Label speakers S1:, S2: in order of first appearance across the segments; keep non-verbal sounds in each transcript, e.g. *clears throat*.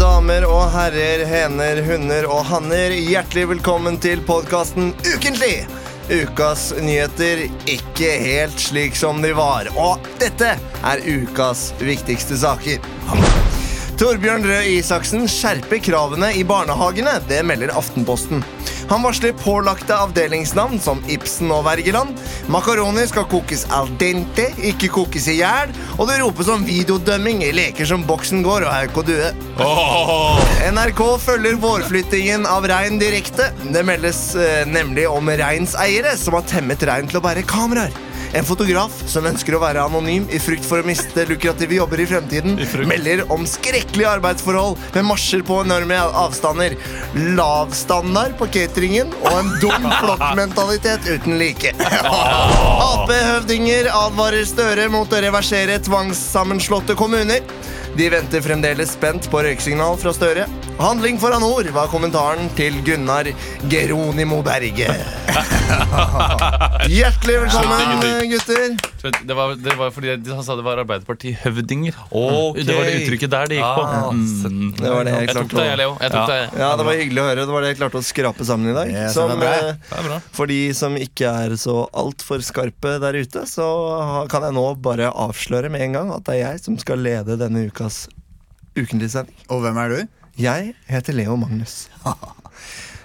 S1: og herrer, hener, hunder og hanner, hjertelig velkommen til podkasten Ukentlig! Ukas nyheter ikke helt slik som de var. Og dette er ukas viktigste saker. Torbjørn Røe Isaksen skjerper kravene i barnehagene. Det melder Aftenposten. Han varsler pålagte avdelingsnavn som Ibsen og Wergeland. Makaroni skal kokes al dente, ikke kokes i hjel. Og det ropes om videodømming i leker som Boksen går og Hauk og Due. NRK følger vårflyttingen av rein direkte. Det meldes eh, nemlig om reins eiere som har temmet rein til å bære kameraer. En fotograf som ønsker å være anonym i frykt for å miste lukrative jobber i fremtiden,
S2: I frykt.
S1: melder om skrekkelige arbeidsforhold med marsjer på enorme avstander, lav standard på cateringen og en dum
S2: *laughs*
S1: flokkmentalitet uten like. *laughs* Ap-høvdinger advarer Støre mot å reversere tvangssammenslåtte kommuner. De venter fremdeles spent på røyksignal fra Støre. Handling foran ord var kommentaren til Gunnar Geronimo Berge. *laughs* Hjertelig velkommen,
S2: Skjønte ingenting.
S1: gutter.
S2: Vent, Det var, det var fordi de- han sa det var Arbeiderparti-høvdinger.
S3: Ok.
S2: Det var det uttrykket der det gikk på.
S3: Ah,
S2: Mm.
S1: Det var det jeg
S2: Jeg
S1: klarte
S2: tok det, jeg,
S1: å
S2: Leo. Jeg tok det.
S1: ja, det var hyggelig å høre. Det var det jeg klarte å skrape sammen i dag.
S3: Yes,
S1: som,
S3: det var bra.
S1: eh,
S2: Det er bra.
S1: for de som ikke er så altfor skarpe der ute, så ha- kan jeg nå bare avsløre med en gang at det er jeg som skal lede denne ukas ukentlige sending.
S3: Og hvem er du?
S1: Jeg heter Leo Magnus.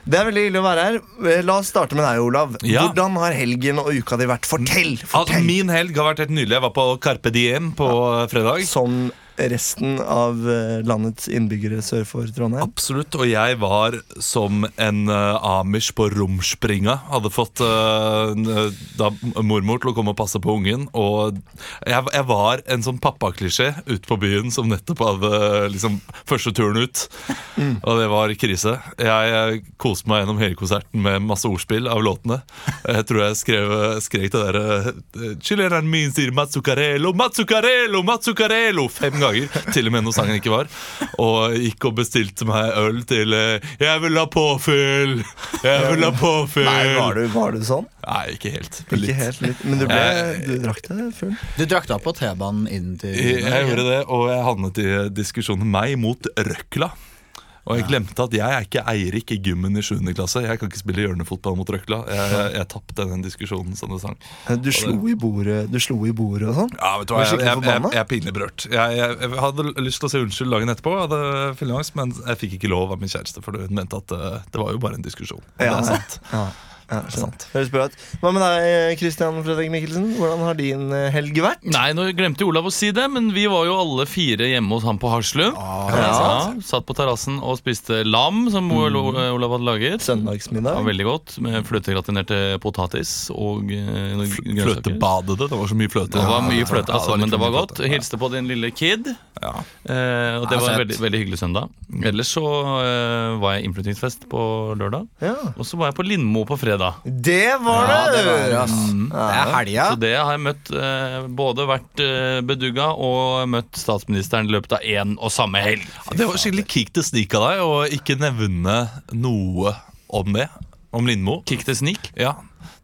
S1: Det er veldig hyggelig å være her. Eh, La oss starte med deg, Olav.
S4: Ja.
S1: Hvordan har helgen og uka di vært? Fortell!
S4: Altså,
S1: fortell.
S4: min helg har vært helt nydelig. Jeg var på Carpe Diem på eh, fredag.
S1: Som resten av eh, landets innbyggere sør for Trondheim.
S4: Absolutt. Og jeg var som en eh, amish på romspringa. Hadde fått eh, en, eh, da mormor til å komme og passe på ungen. Og jeg, jeg var en sånn pappaklisjé ute på byen som nettopp hadde eh, liksom, første turen ut. Og det var krise. Jeg eh, koste meg gjennom hele konserten med masse ordspill av låtene. Jeg tror jeg skrev, skrek det derre Chileneren min sier Mazzucarello, Mazzucarello, Mazzucarello fem ganger. Til og med når sangen ikke var. Og gikk og bestilte meg øl til eh, Jeg vil ha påfyll! Jeg vil ha påfyll!
S1: Nei, var du, var du sånn?
S4: Nei, ikke helt. men
S1: Ikke
S4: litt.
S1: helt litt. Men du, ble,
S4: Jeg-
S1: du drakk deg full.
S3: Du drakk deg på T-banen inn til
S4: Jeg, Eh, jeg gjorde det, og jeg havnet i diskusjonen meg mot røkla. Og jeg glemte at jeg er ikke Eirik i gymmen i 7. klasse. Jeg kan ikke spille hjørnefotball mot røkla. Jeg, jeg, jeg tapte den diskusjonen som det sang.
S1: Eh, Du slo i bordet, du slo i bordet og sånn.
S4: Ja, vet du
S1: Var
S4: hva,
S1: du
S4: jeg,
S1: skikkelig
S4: jeg, jeg,
S1: forbanna?
S4: jeg er pinlig berørt. Jeg, jeg, jeg hadde lyst til å si unnskyld dagen etterpå, hadde fylleangst, men jeg fikk ikke lov av min kjæreste, for hun mente at eh, det var jo bare en diskusjon. Og
S1: Ja.
S4: Det er sant.
S1: Ja, ja, sant. Høres bra ut. Hva med deg, eh, Christian Fredrik Mikkelsen? Hvordan har din eh, helg vært?
S2: Nei, nå glemte jo Olav å si det, men vi var jo alle fire hjemme hos han på Haslum.
S1: Ah,
S2: Ja, satt på terrassen og spiste lam, som Ol- Olav hadde laget. Ja,
S1: Mm. Søndagsmiddag?
S2: veldig godt, med fløtegratinerte potatis og eh, noen grønnsaker.
S4: Fløtebadede. Det var så mye fløte.
S2: Det var mye
S4: Ja,
S2: fløte, altså,
S4: det var
S2: men det var
S4: mye
S2: godt.
S4: fløte.
S2: Hilste på din lille kid.
S4: Ja. altså,
S2: Eh, og det
S3: Ja,
S2: var en
S3: fett.
S2: veldig, veldig hyggelig søndag.
S4: Mm.
S2: Ellers så eh, var jeg innflyttingsfest på lørdag.
S1: Ja.
S2: Og så var jeg på Lindmo på fredag.
S1: Det var
S3: Ja,
S1: det!
S3: det var det, ass.
S4: Mm.
S5: Mm.
S3: Det er helga.
S2: Så det har jeg møtt eh, både vært eh, bedugga og møtt statsministeren i løpet av én og samme helg.
S4: Ja, Det var skikkelig kick til snik av deg å ikke nevne noe om det. Om Lindmo.
S2: Kick the sneak.
S4: Ja,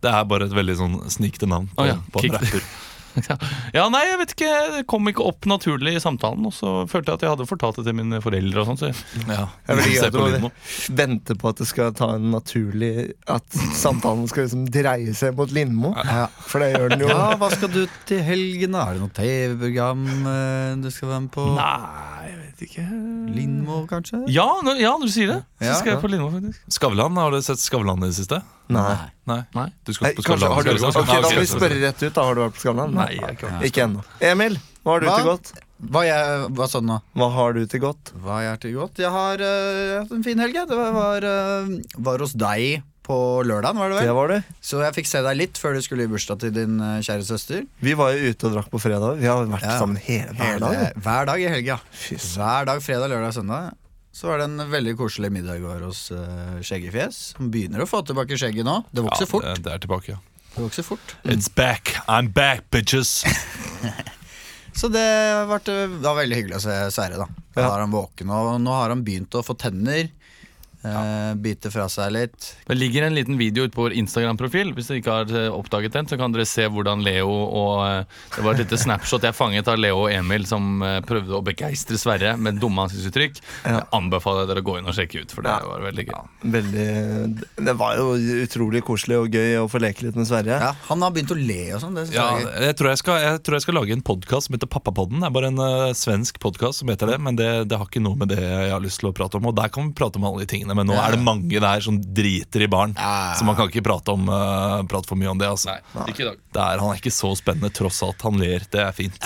S4: Det er bare et veldig sånn snikete navn. på-
S2: Å ja,
S4: på en
S2: kick-
S4: rapper.
S2: *laughs* Ja, nei, jeg vet ikke. Det kom ikke opp naturlig i samtalen. Og så følte jeg at jeg hadde fortalt det til mine foreldre og sånn. Så jeg-
S4: Ja.
S1: Jeg vil ikke
S4: *laughs* Se
S1: at du
S4: på
S1: må
S4: Lindmo.
S1: vente på at det skal ta en naturlig At samtalen skal liksom dreie seg mot Lindmo.
S3: Ja.
S1: For det gjør den jo.
S3: Ja, hva skal du til helgen? da? Er det noe TV-program eh, du skal være med på?
S2: Nei, jeg vet ikke.
S3: Lindmo, kanskje?
S2: Ja, når, ja, når du sier det, så
S3: Ja.
S2: skal jeg på Lindmo, faktisk.
S4: Skavlan, har du sett Skavlan i det siste?
S1: Nei.
S4: Nei.
S2: Nei.
S4: Du skal
S1: Nei,
S4: ikke på
S1: kanskje,
S4: Skavlan.
S1: har du,
S4: skal ikke på
S1: ok,
S4: Skavlan.
S1: da må
S4: Ok,
S1: vi spørre rett ut. da Har du vært på Skavlan?
S2: Nei, jeg har ikke vært på
S1: Ikke ennå. Emil, hva har du
S3: Hva?
S1: til godt?
S3: Hva, jeg, hva sa du nå?
S1: Hva har du til godt?
S3: Hva jeg har til godt? Jeg har eh, hatt en fin helg, jeg. Det var, var, eh, var hos deg på lørdagen, var det
S1: Det
S3: vel?
S1: var du.
S3: Så jeg fikk se deg litt før du skulle i bursdag til din eh, kjære søster.
S1: Vi var jo ute og drakk på fredag. Vi har vært
S3: Ja.
S1: sammen hele hver dag.
S3: hver dag i helga.
S1: Fy søren.
S3: Hver dag fredag, lørdag og søndag. Så var det en veldig koselig middag i går hos uh, Skjeggefjes. Han begynner å få tilbake skjegget nå. Det vokser fort.
S4: Ja, det- det er tilbake, ja. Mm.
S3: Det vokser fort.
S4: It's back. I'm back,
S1: *laughs*
S4: bitches.
S3: Så det var, det var veldig hyggelig å se Sverre, da. Da
S1: Ja.
S3: er han våken, og nå har han begynt å få tenner. eh, bite fra seg litt.
S2: Det ligger en liten video ute på vår Instagram-profil. Hvis dere ikke har eh, oppdaget den, så kan dere se hvordan Leo og eh, Det var et lite snapshot jeg fanget av Leo og Emil som eh, prøvde å begeistre Sverre med dumme ansiktsuttrykk. Jeg anbefaler dere å gå inn og sjekke ut, for det
S1: Ja.
S2: var veldig gøy.
S1: Veldig, det var jo utrolig koselig og gøy å få leke litt med Sverre.
S3: Ja, han har begynt å le og sånn. Det synes
S4: Ja,
S3: jeg er gøy.
S4: jeg tror jeg, skal, jeg tror jeg skal lage en podkast som heter Pappapodden. Det er bare en eh, svensk podkast som heter det, men det, det har ikke noe med det jeg har lyst til å prate om. Og der kan vi prate om alle de tingene, men nå
S3: Ja.
S4: er det mange der som driter i barn.
S3: Ja.
S4: Så man kan ikke prate, om, eh, prate for mye om det. Altså.
S2: Nei, ikke i dag.
S4: Det er, han er ikke så spennende, tross alt. Han ler. Det er fint.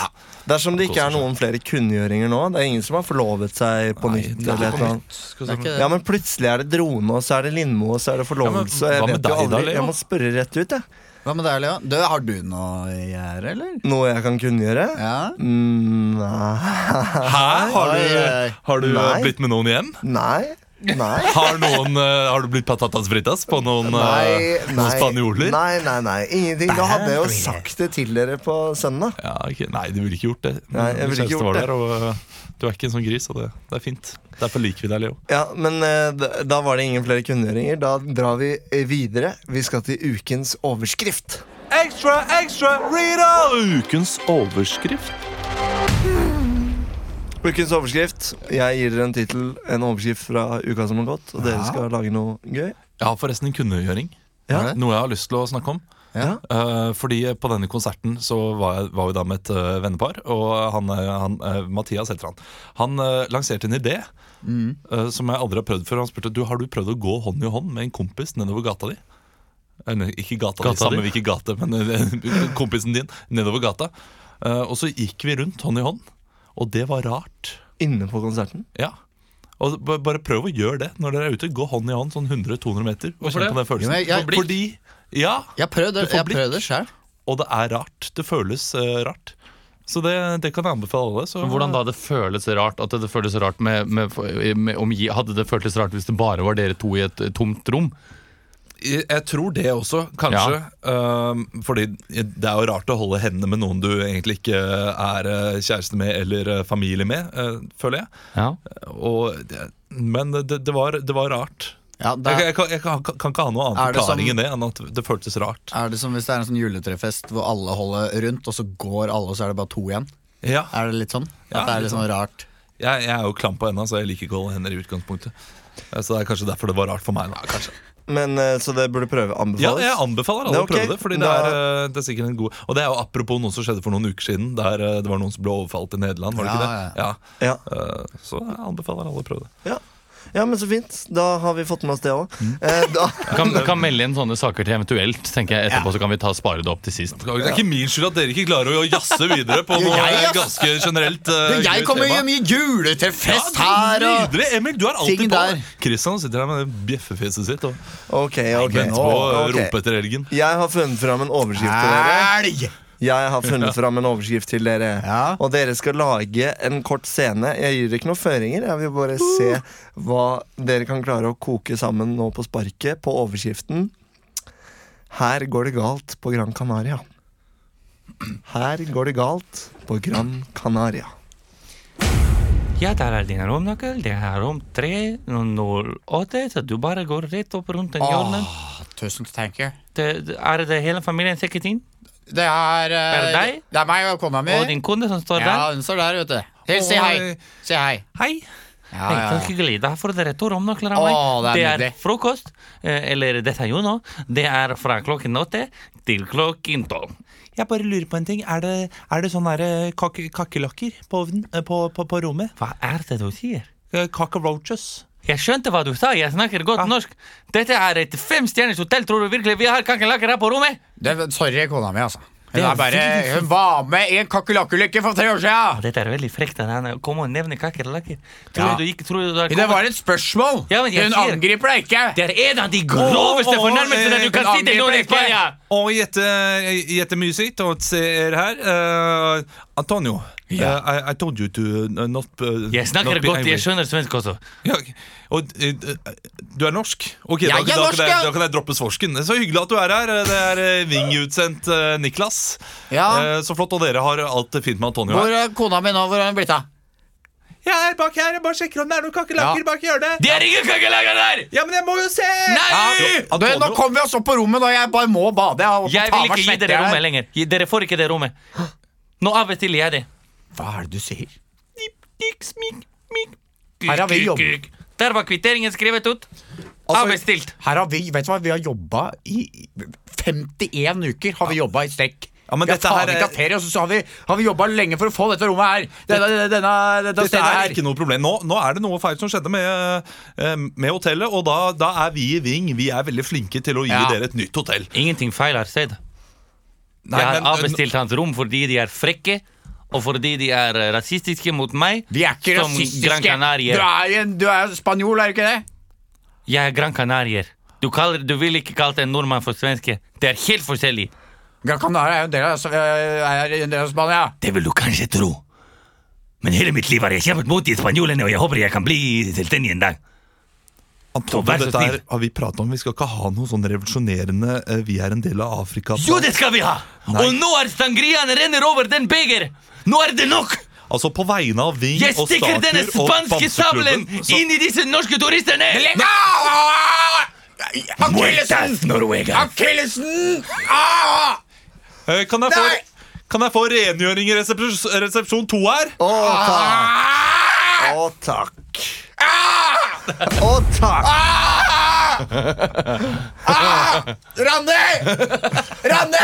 S1: Dersom det ikke er noen flere kunngjøringer nå, det er ingen som har forlovet seg på
S4: Nei,
S1: nytt.
S4: det er
S1: Eller
S4: på
S1: et eller annet.
S3: Det er ikke det.
S1: Ja, men plutselig er det drone, og så er det Lindmo, og så er det forlovelse. og
S4: Ja,
S1: jeg
S4: men hva med
S1: vet jo
S4: deg da,
S1: aldri-
S4: Leo?
S1: Jeg må spørre rett ut, jeg.
S3: Hva med deg, Leo? Du, har du noe i gjerdet, eller?
S1: Noe jeg kan kunngjøre?
S3: Ja.
S1: Mm, *laughs* nei.
S4: Hæ? Har
S3: Oi,
S4: du,
S3: oi.
S4: har du eh,
S1: Nei.
S4: blitt med noen hjem?
S1: Nei. Nei.
S4: Har, noen, eh, har du blitt patatas fritas på noen, eh, noen spanjoler?
S1: Nei, nei, nei. Ingenting. Da hadde jeg jo sagt det til dere på søndag.
S4: Ja, ikke, nei, du ville ikke gjort det.
S1: Nei, jeg
S4: Min
S1: ville ikke
S4: kjæreste
S1: gjort
S4: var
S1: det.
S4: Der, og, eh, du er ikke en sånn gris, og det, det er fint. Derfor liker vi deg, Leo.
S1: Ja, Men eh, da- da var det ingen flere kunngjøringer. Da drar vi eh, videre. Vi skal til ukens overskrift.
S4: Ekstra, ekstra, Rita! Ukens overskrift.
S1: Ukens overskrift. Jeg gir dere en tittel, en overskrift fra uka som har gått, og dere skal lage noe gøy.
S4: Jeg har forresten en kunngjøring. eh,
S1: Ja.
S4: Noe jeg har lyst til å snakke om.
S1: Ja.
S4: Eh, fordi på denne konserten så var, jeg, var vi da med et eh, vennepar, og han, eh, han, eh, Mathias heter han. Han eh, lanserte en idé eh, som jeg aldri har prøvd før. Han spurte du, har du prøvd å gå hånd i hånd med en kompis nedover gata di. Eller ikke gata,
S2: Gata
S4: di, samme
S2: di?
S4: hvilken gate, men eh, *laughs* kompisen din nedover gata. Eh, og så gikk vi rundt hånd i hånd, og det var rart.
S1: Inne på konserten.
S4: Ja og ba- bare prøv å gjøre det når dere er ute. Gå hånd i hånd sånn 100-200 meter. Og
S2: Hvorfor
S4: kjenn på den
S2: det?
S4: følelsen
S3: Jo, men jeg-
S4: Fordi, Ja,
S3: Jeg prøvde,
S4: Du får
S3: jeg
S4: blikk.
S3: prøvde selv.
S4: og det er rart. Det føles eh, rart. Så det, det kan jeg anbefale alle. Så,
S2: Men Hvordan da det føles rart? At det føles rart med, med, med omgi, Hadde det føltes rart hvis det bare var dere to i et eh, tomt rom?
S4: Jeg jeg tror det også, kanskje. Um, fordi det er jo rart å holde hendene med noen du egentlig ikke er eh, kjæreste med eller eh, familie med, eh, føler jeg. Eh,
S2: Ja.
S4: Og, det- men det, det, var, det var rart.
S3: Ja,
S4: Jeg,
S3: det
S4: kan-
S3: er,
S4: jeg, kan, jeg kan, kan ikke ha noen
S3: Er
S4: annen
S3: det som-
S4: forklaring enn det, enn at det føltes rart.
S3: er det som hvis det er en sånn juletrefest hvor alle holder rundt, og så går alle, og så er det bare to igjen?
S4: Ja,
S3: Er det litt sånn?
S4: Ja,
S3: At det er
S4: litt
S3: litt sånn rart?
S4: Jeg, jeg er jo klam på henda, så jeg liker ikke å holde hender i utgangspunktet. Eh, Så det er kanskje derfor det var rart for meg. Da.
S1: Men, eh, så det burde prøve
S4: Ja,
S1: anbefales.
S4: jeg anbefaler
S1: Det
S4: alle
S1: er
S4: å prøve
S1: ok.
S4: det. Fordi det
S1: Da-
S4: er, eh, det er sikkert en god Og det er jo apropos noe som skjedde for noen uker siden, der eh, det var noen som ble overfalt i Nederland. Var det
S3: Ja,
S4: ikke det? Ja.
S1: Ja.
S4: Eh, Så jeg anbefaler alle å prøve det.
S1: Ja. ja, men så fint. Da har vi fått med oss det òg. Eh, da-
S2: Kan, kan melde inn sånne saker til eventuelt. Tenker jeg Etterpå så kan vi ta spare det opp til sist.
S4: Det er ikke min skyld at dere ikke klarer å jazze videre
S1: *laughs*
S4: på noe
S3: jeg,
S4: ganske generelt eh,
S3: Men jeg kommer jo mye juletrefest her, og
S4: Nydelig! Emil, du er
S3: Ting
S4: alltid på.
S3: der.
S4: Kristian sitter her med det bjeffefjeset sitt og
S1: Ok, ok.
S4: venter på eh, å
S1: Ok.
S4: rope etter elgen.
S1: Jeg har funnet fram en overskrift til dere.
S3: Elg!
S1: Jeg har funnet fram en overskrift til dere
S3: Ja.
S1: Og dere skal lage en kort scene. Jeg gir dere ikke noen føringer. Jeg vil bare se hva dere kan klare å koke sammen nå på sparket på overskriften. Her går det galt på Gran Canaria. Her går det galt på Gran Canaria.
S5: Ja, der er din romnøkkel. Det er rom 308, så du bare går rett opp rundt den hjørnet.
S3: Tusen takk.
S5: Det- det- Er det hele familien sekket inn?
S3: Det er eh,
S5: Er det deg?
S3: Det er meg og kona mi.
S5: Og din kone som står
S3: Ja,
S5: der?
S3: hun står der, vet du. Hei, si hei. Si hei.
S5: Hei.
S3: Ja,
S5: Hei,
S3: ja,
S5: så
S3: ja.
S5: hyggelig. Da får dere to romnøkler av
S3: Å,
S5: meg.
S3: det er nydelig.
S5: frokost, eh, eller desayuno. Det er fra klokken åtte til klokken tolv.
S6: Jeg bare lurer på en ting. Er det, er det sånn
S5: eh,
S6: derre kak kakerlakker på ovnen? eh, På, på, på rommet?
S5: Hva er det du sier?
S6: Eh, Cockroaches?
S5: Jeg skjønte hva du sa. Jeg snakker godt
S3: Ah.
S5: norsk. Dette er et femstjerners hotell. Tror du virkelig vi har kakerlakker her på rommet?
S3: Det, sorry, kona mi, altså. Hun,
S5: Det er
S3: er bare,
S5: veldig
S3: hun var med i en kakerlakkeulykke for tre år siden!
S5: Dette er veldig frekt av han å komme og nevne kakerlakker. Tror
S3: Ja.
S5: du ikke tror du har
S3: Det
S5: kommet-
S3: var et spørsmål!
S5: Ja, men jeg
S3: hun
S5: sier-
S3: angriper deg ikke!
S5: Det er en av de groveste
S4: Åh, åh,
S5: fornærmelsene
S4: eh,
S5: du kan
S3: hun
S5: si til noen i
S3: angriper ikke.
S5: Spania!
S4: Og jättemysigt att se er här. Eh, Antonio,
S3: Ja.
S4: eh, I, I told you to uh, not uh,
S5: Jeg snakker
S4: not be
S5: godt,
S4: angry.
S5: jeg skjønner svensk også.
S4: Ja, og, eh, du er norsk? Ok,
S3: Jeg
S4: da,
S3: er
S4: da,
S3: norsk,
S4: kan jeg,
S3: ja.
S4: da kan jeg droppe svorsken. Så hyggelig at du er her. Det er eh, Ving-utsendt eh, Niklas.
S3: Ja.
S4: Eh, så flott. Og dere har alt fint med Antonio
S3: Hvor
S4: her.
S3: er kona mi nå? Hvor har hun blitt av?
S6: Jeg er bak her, jeg bare sjekker om det er noen kakerlakker
S3: Ja.
S6: bak i hjørnet.
S2: Det er ingen kakerlakker der!
S6: Ja, men jeg må jo se!
S2: Nei!
S3: Du, nå kommer vi oss opp på rommet, da. Jeg bare må bade. Jeg, har fått
S5: Jeg vil
S3: faen meg
S5: ikke gi
S3: svette
S5: dere
S3: her.
S5: rommet lenger. Gi- Dere får ikke det rommet. Nå avbestiller jeg det.
S3: Hva er det du sier?
S5: Ikk, smikk, mikk,
S3: Her har vi
S5: kuk,
S3: jobb.
S5: kuk. Der var kvitteringen skrevet ut.
S3: Altså,
S5: Avbestilt.
S3: her har vi vet du hva, vi har jobba i 51 uker har vi jobbet i strekk.
S4: Ja, men
S3: vi har
S4: dette
S3: faen
S4: her er-
S3: ikke hatt ferie, og så har vi, har vi jobba lenge for å få dette rommet her. Denne, denne, denne, dette
S4: Dette
S3: stedet
S4: er
S3: her.
S4: ikke noe problem. Nå, nå er det noe feil som skjedde med, eh, med hotellet, og da, da er vi i Ving. Vi er veldig flinke til å gi
S5: Ja.
S4: dere et nytt hotell.
S5: Ingenting feil har skjedd.
S4: Nei,
S5: jeg har
S4: men,
S5: avbestilt hans rom fordi de er frekke, og fordi de er eh, rasistiske mot meg.
S3: Vi er ikke
S5: som
S3: rasistiske.
S5: Gran Canaria.
S3: Du er, en, du er spanjol, er du ikke det?
S5: Jeg er Gran Canarier. Du, kaller, du vil ikke kalle en nordmann for svenske. Det er helt forskjellig.
S3: Gran Canaria er jo en del av, eh, er en del av Spania.
S5: Det vil du kanskje tro. Men hele mitt liv har jeg kjempet mot de spanjolene, og jeg håper jeg kan bli selvstendig en dag.
S4: Antonio,
S5: Vær så
S4: dette her
S5: snill.
S4: har vi pratet om. Vi skal ikke ha noe sånn revolusjonerende eh, 'vi er en del av Afrika'.
S5: Jo, det skal vi ha! Og nå er sangriaen renner over den beger! Nå er det nok!
S4: Altså på vegne av Ving
S5: Jeg
S4: og
S5: stikker
S4: Staker
S5: denne
S4: og
S5: spanske sabelen
S4: Bamseklubben, så-
S5: inn i disse norske turistene!
S4: Ah,
S3: Akillesen!
S5: Norwega!
S3: Akillesen! Ah!
S4: Eh, Kan jeg
S3: Nei!
S4: få, kan jeg få rengjøring i resepsjon, resepsjon 2 her?
S1: Å takk. Å takk.
S5: Ah!
S1: Å takk. *laughs*
S5: Ah!
S3: Randi! Randi!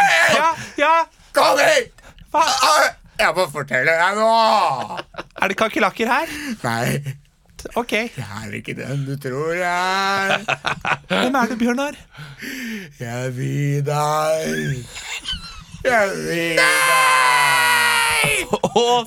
S6: Ja,
S3: Kom hit! Ah, Jeg må fortelle deg noe!
S6: Er det kakerlakker her?
S3: Nei,
S6: Ok.
S3: jeg er ikke den du tror jeg er.
S6: Hvem er du, Bjørnar?
S3: Jeg er Vidar. Jeg er Vidar.
S1: Å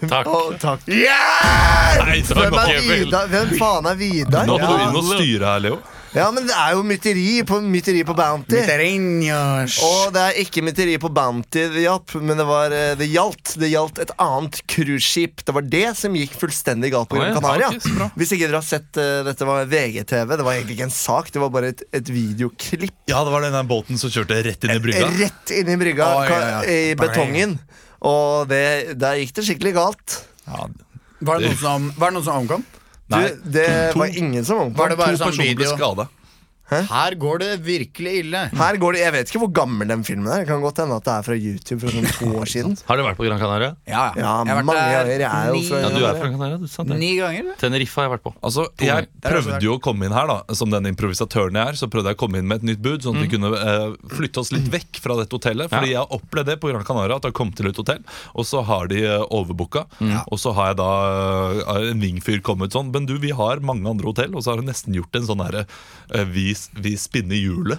S1: takk.
S3: Yeah!
S2: Nei, det var
S1: Hvem, er
S2: ikke vel.
S1: Vidar? Hvem faen er Vidar?
S4: Nå må du
S1: Ja.
S4: inn og styre her, Leo.
S1: ja, men det er jo mytteri på, mytteri på Bounty.
S3: Terrenos.
S1: Og det er ikke mytteri på Bounty det hjalp, men det, var, eh, det gjaldt Det gjaldt et annet cruiseskip. Det var det som gikk fullstendig galt på
S2: Å, ja.
S1: Gran Canaria.
S2: Ja, ok, så bra.
S1: Hvis ikke dere har sett eh, dette var VGTV, det var egentlig ikke en sak, det var bare et, et videoklipp
S4: Ja, det var den der båten som kjørte rett inn i brygga.
S1: rett inn i brygga
S3: Å, ja, ja.
S1: ka- i betongen. Og det, der gikk det skikkelig galt.
S4: Ja,
S3: Var det noen som, var det noen som omkom?
S1: Du,
S4: Nei,
S1: det var ingen som
S3: Var det
S1: omkom.
S3: bare
S4: to
S3: sånn
S4: personer ble
S3: video?
S4: skada.
S3: Her går det virkelig ille.
S1: Her går det, Jeg vet ikke hvor gammel den filmen er. Det kan godt hende at det er fra YouTube fra sånn to år siden.
S2: Har du vært på Gran Canaria?
S3: Ja,
S1: Ja, mange ganger. Jeg er jo fra
S2: Ja, du
S1: Ja,
S2: er fra Gran Canaria, du sant
S3: ni,
S2: det?
S3: ni ganger. eller?
S5: Tenerife har jeg vært på.
S4: Altså, jeg
S2: ganger.
S3: Der er også
S4: prøvde
S3: der.
S4: jo å komme inn her, da som den improvisatøren jeg er. Så prøvde jeg å komme inn med et nytt bud, sånn at
S5: Mm.
S4: vi kunne eh, flytte oss litt vekk fra dette hotellet. Fordi jeg har opplevd det på Gran Canaria, at det har kommet til et hotell, og så har de uh, overbooka.
S5: Mm.
S4: Og så har jeg da eh, en vingfyr kommet sånn. Men du, vi har mange andre hotell, og så har han nesten gjort en sånn herre eh, vi, vi spinner hjulet.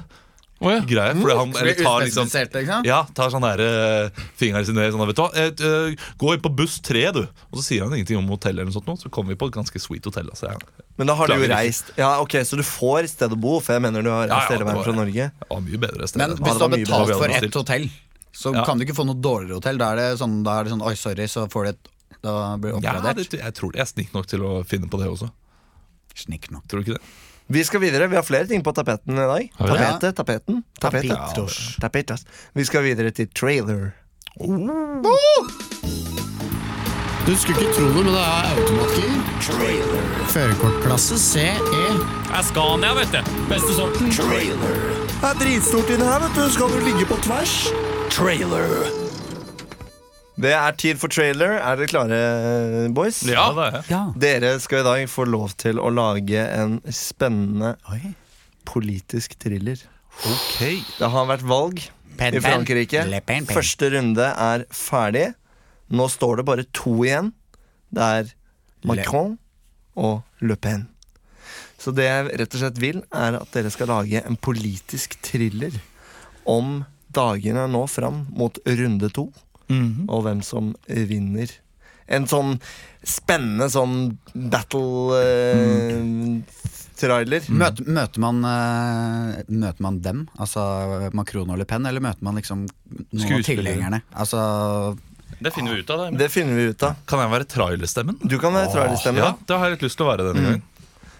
S2: Å, ja.
S4: Greie, fordi
S3: Mm.
S4: han eller tar liksom
S3: Uspesifisert, liksom.
S4: ja, tar sånn der uh, fingeren sin ned sånn, vet du, hva, eh, eh, Gå inn på buss 3 du Og så sier han ingenting om hotell eller noe sånt nå, Så kommer vi på et ganske sweet hotell altså, jeg,
S1: Men da har du jo
S4: Klager ikke.
S1: reist. Ja, ok, Så du får sted å bo, for jeg mener du har
S4: Ja, ja,
S1: reist hele
S4: det
S1: veien
S4: var
S1: fra
S4: det.
S1: Norge.
S4: Det var mye bedre sted
S3: Men
S4: enn-
S3: hvis du har
S1: det var mye
S3: betalt
S4: bedre.
S3: for ett hotell, så
S4: Ja.
S3: kan du ikke få noe dårligere hotell. Da er det sånn, da er det sånn Oi, sorry, så får du et Da blir det
S4: ja, det,
S3: oppgradert.
S4: jeg tror det. Jeg er snikk nok til å finne på det også
S3: Snikk nok.
S4: Tror du ikke det?
S1: Vi skal videre. Vi har flere ting på tapeten i dag.
S2: Har vi det?
S1: Tapetet, tapeten, tapetet.
S3: Tapetos.
S1: Tapetos. Vi skal videre til trailer.
S2: Oh.
S7: Du skulle ikke tro det, men det er automatgir. Førerkortklasse
S3: E.
S7: CE.
S5: Jeg skal ned, vet du. Beste sorten.
S1: Det er dritstort inni her, vet du. Skal du ligge på tvers? Trailer. Det er tid for trailer. Er dere klare, boys?
S4: Ja, det er jeg
S1: Dere skal i dag få lov til å lage en spennende
S3: Oi.
S1: politisk thriller. Det har vært valg i
S3: Pen, pen.
S1: Frankrike.
S3: Le Pen, pen.
S1: Første runde er ferdig. Nå står det bare to igjen. Det er Macron og Le Pen. Så det jeg rett og slett vil, er at dere skal lage en politisk thriller om dagene nå fram mot runde to, og hvem som vinner. En sånn spennende sånn eh, battle-trailer.
S3: Møter, møter, man, eh, møter man dem, altså Macron og Le Pen, eller møter man liksom noen av
S2: Skuespillere.
S3: tilhengerne? Altså
S2: Det finner vi ut av, da.
S1: det finner vi ut av.
S4: Kan jeg være trailerstemmen?
S1: Du kan være trailerstemmen. Mm.
S4: Ja, det har jeg litt lyst til å være denne gangen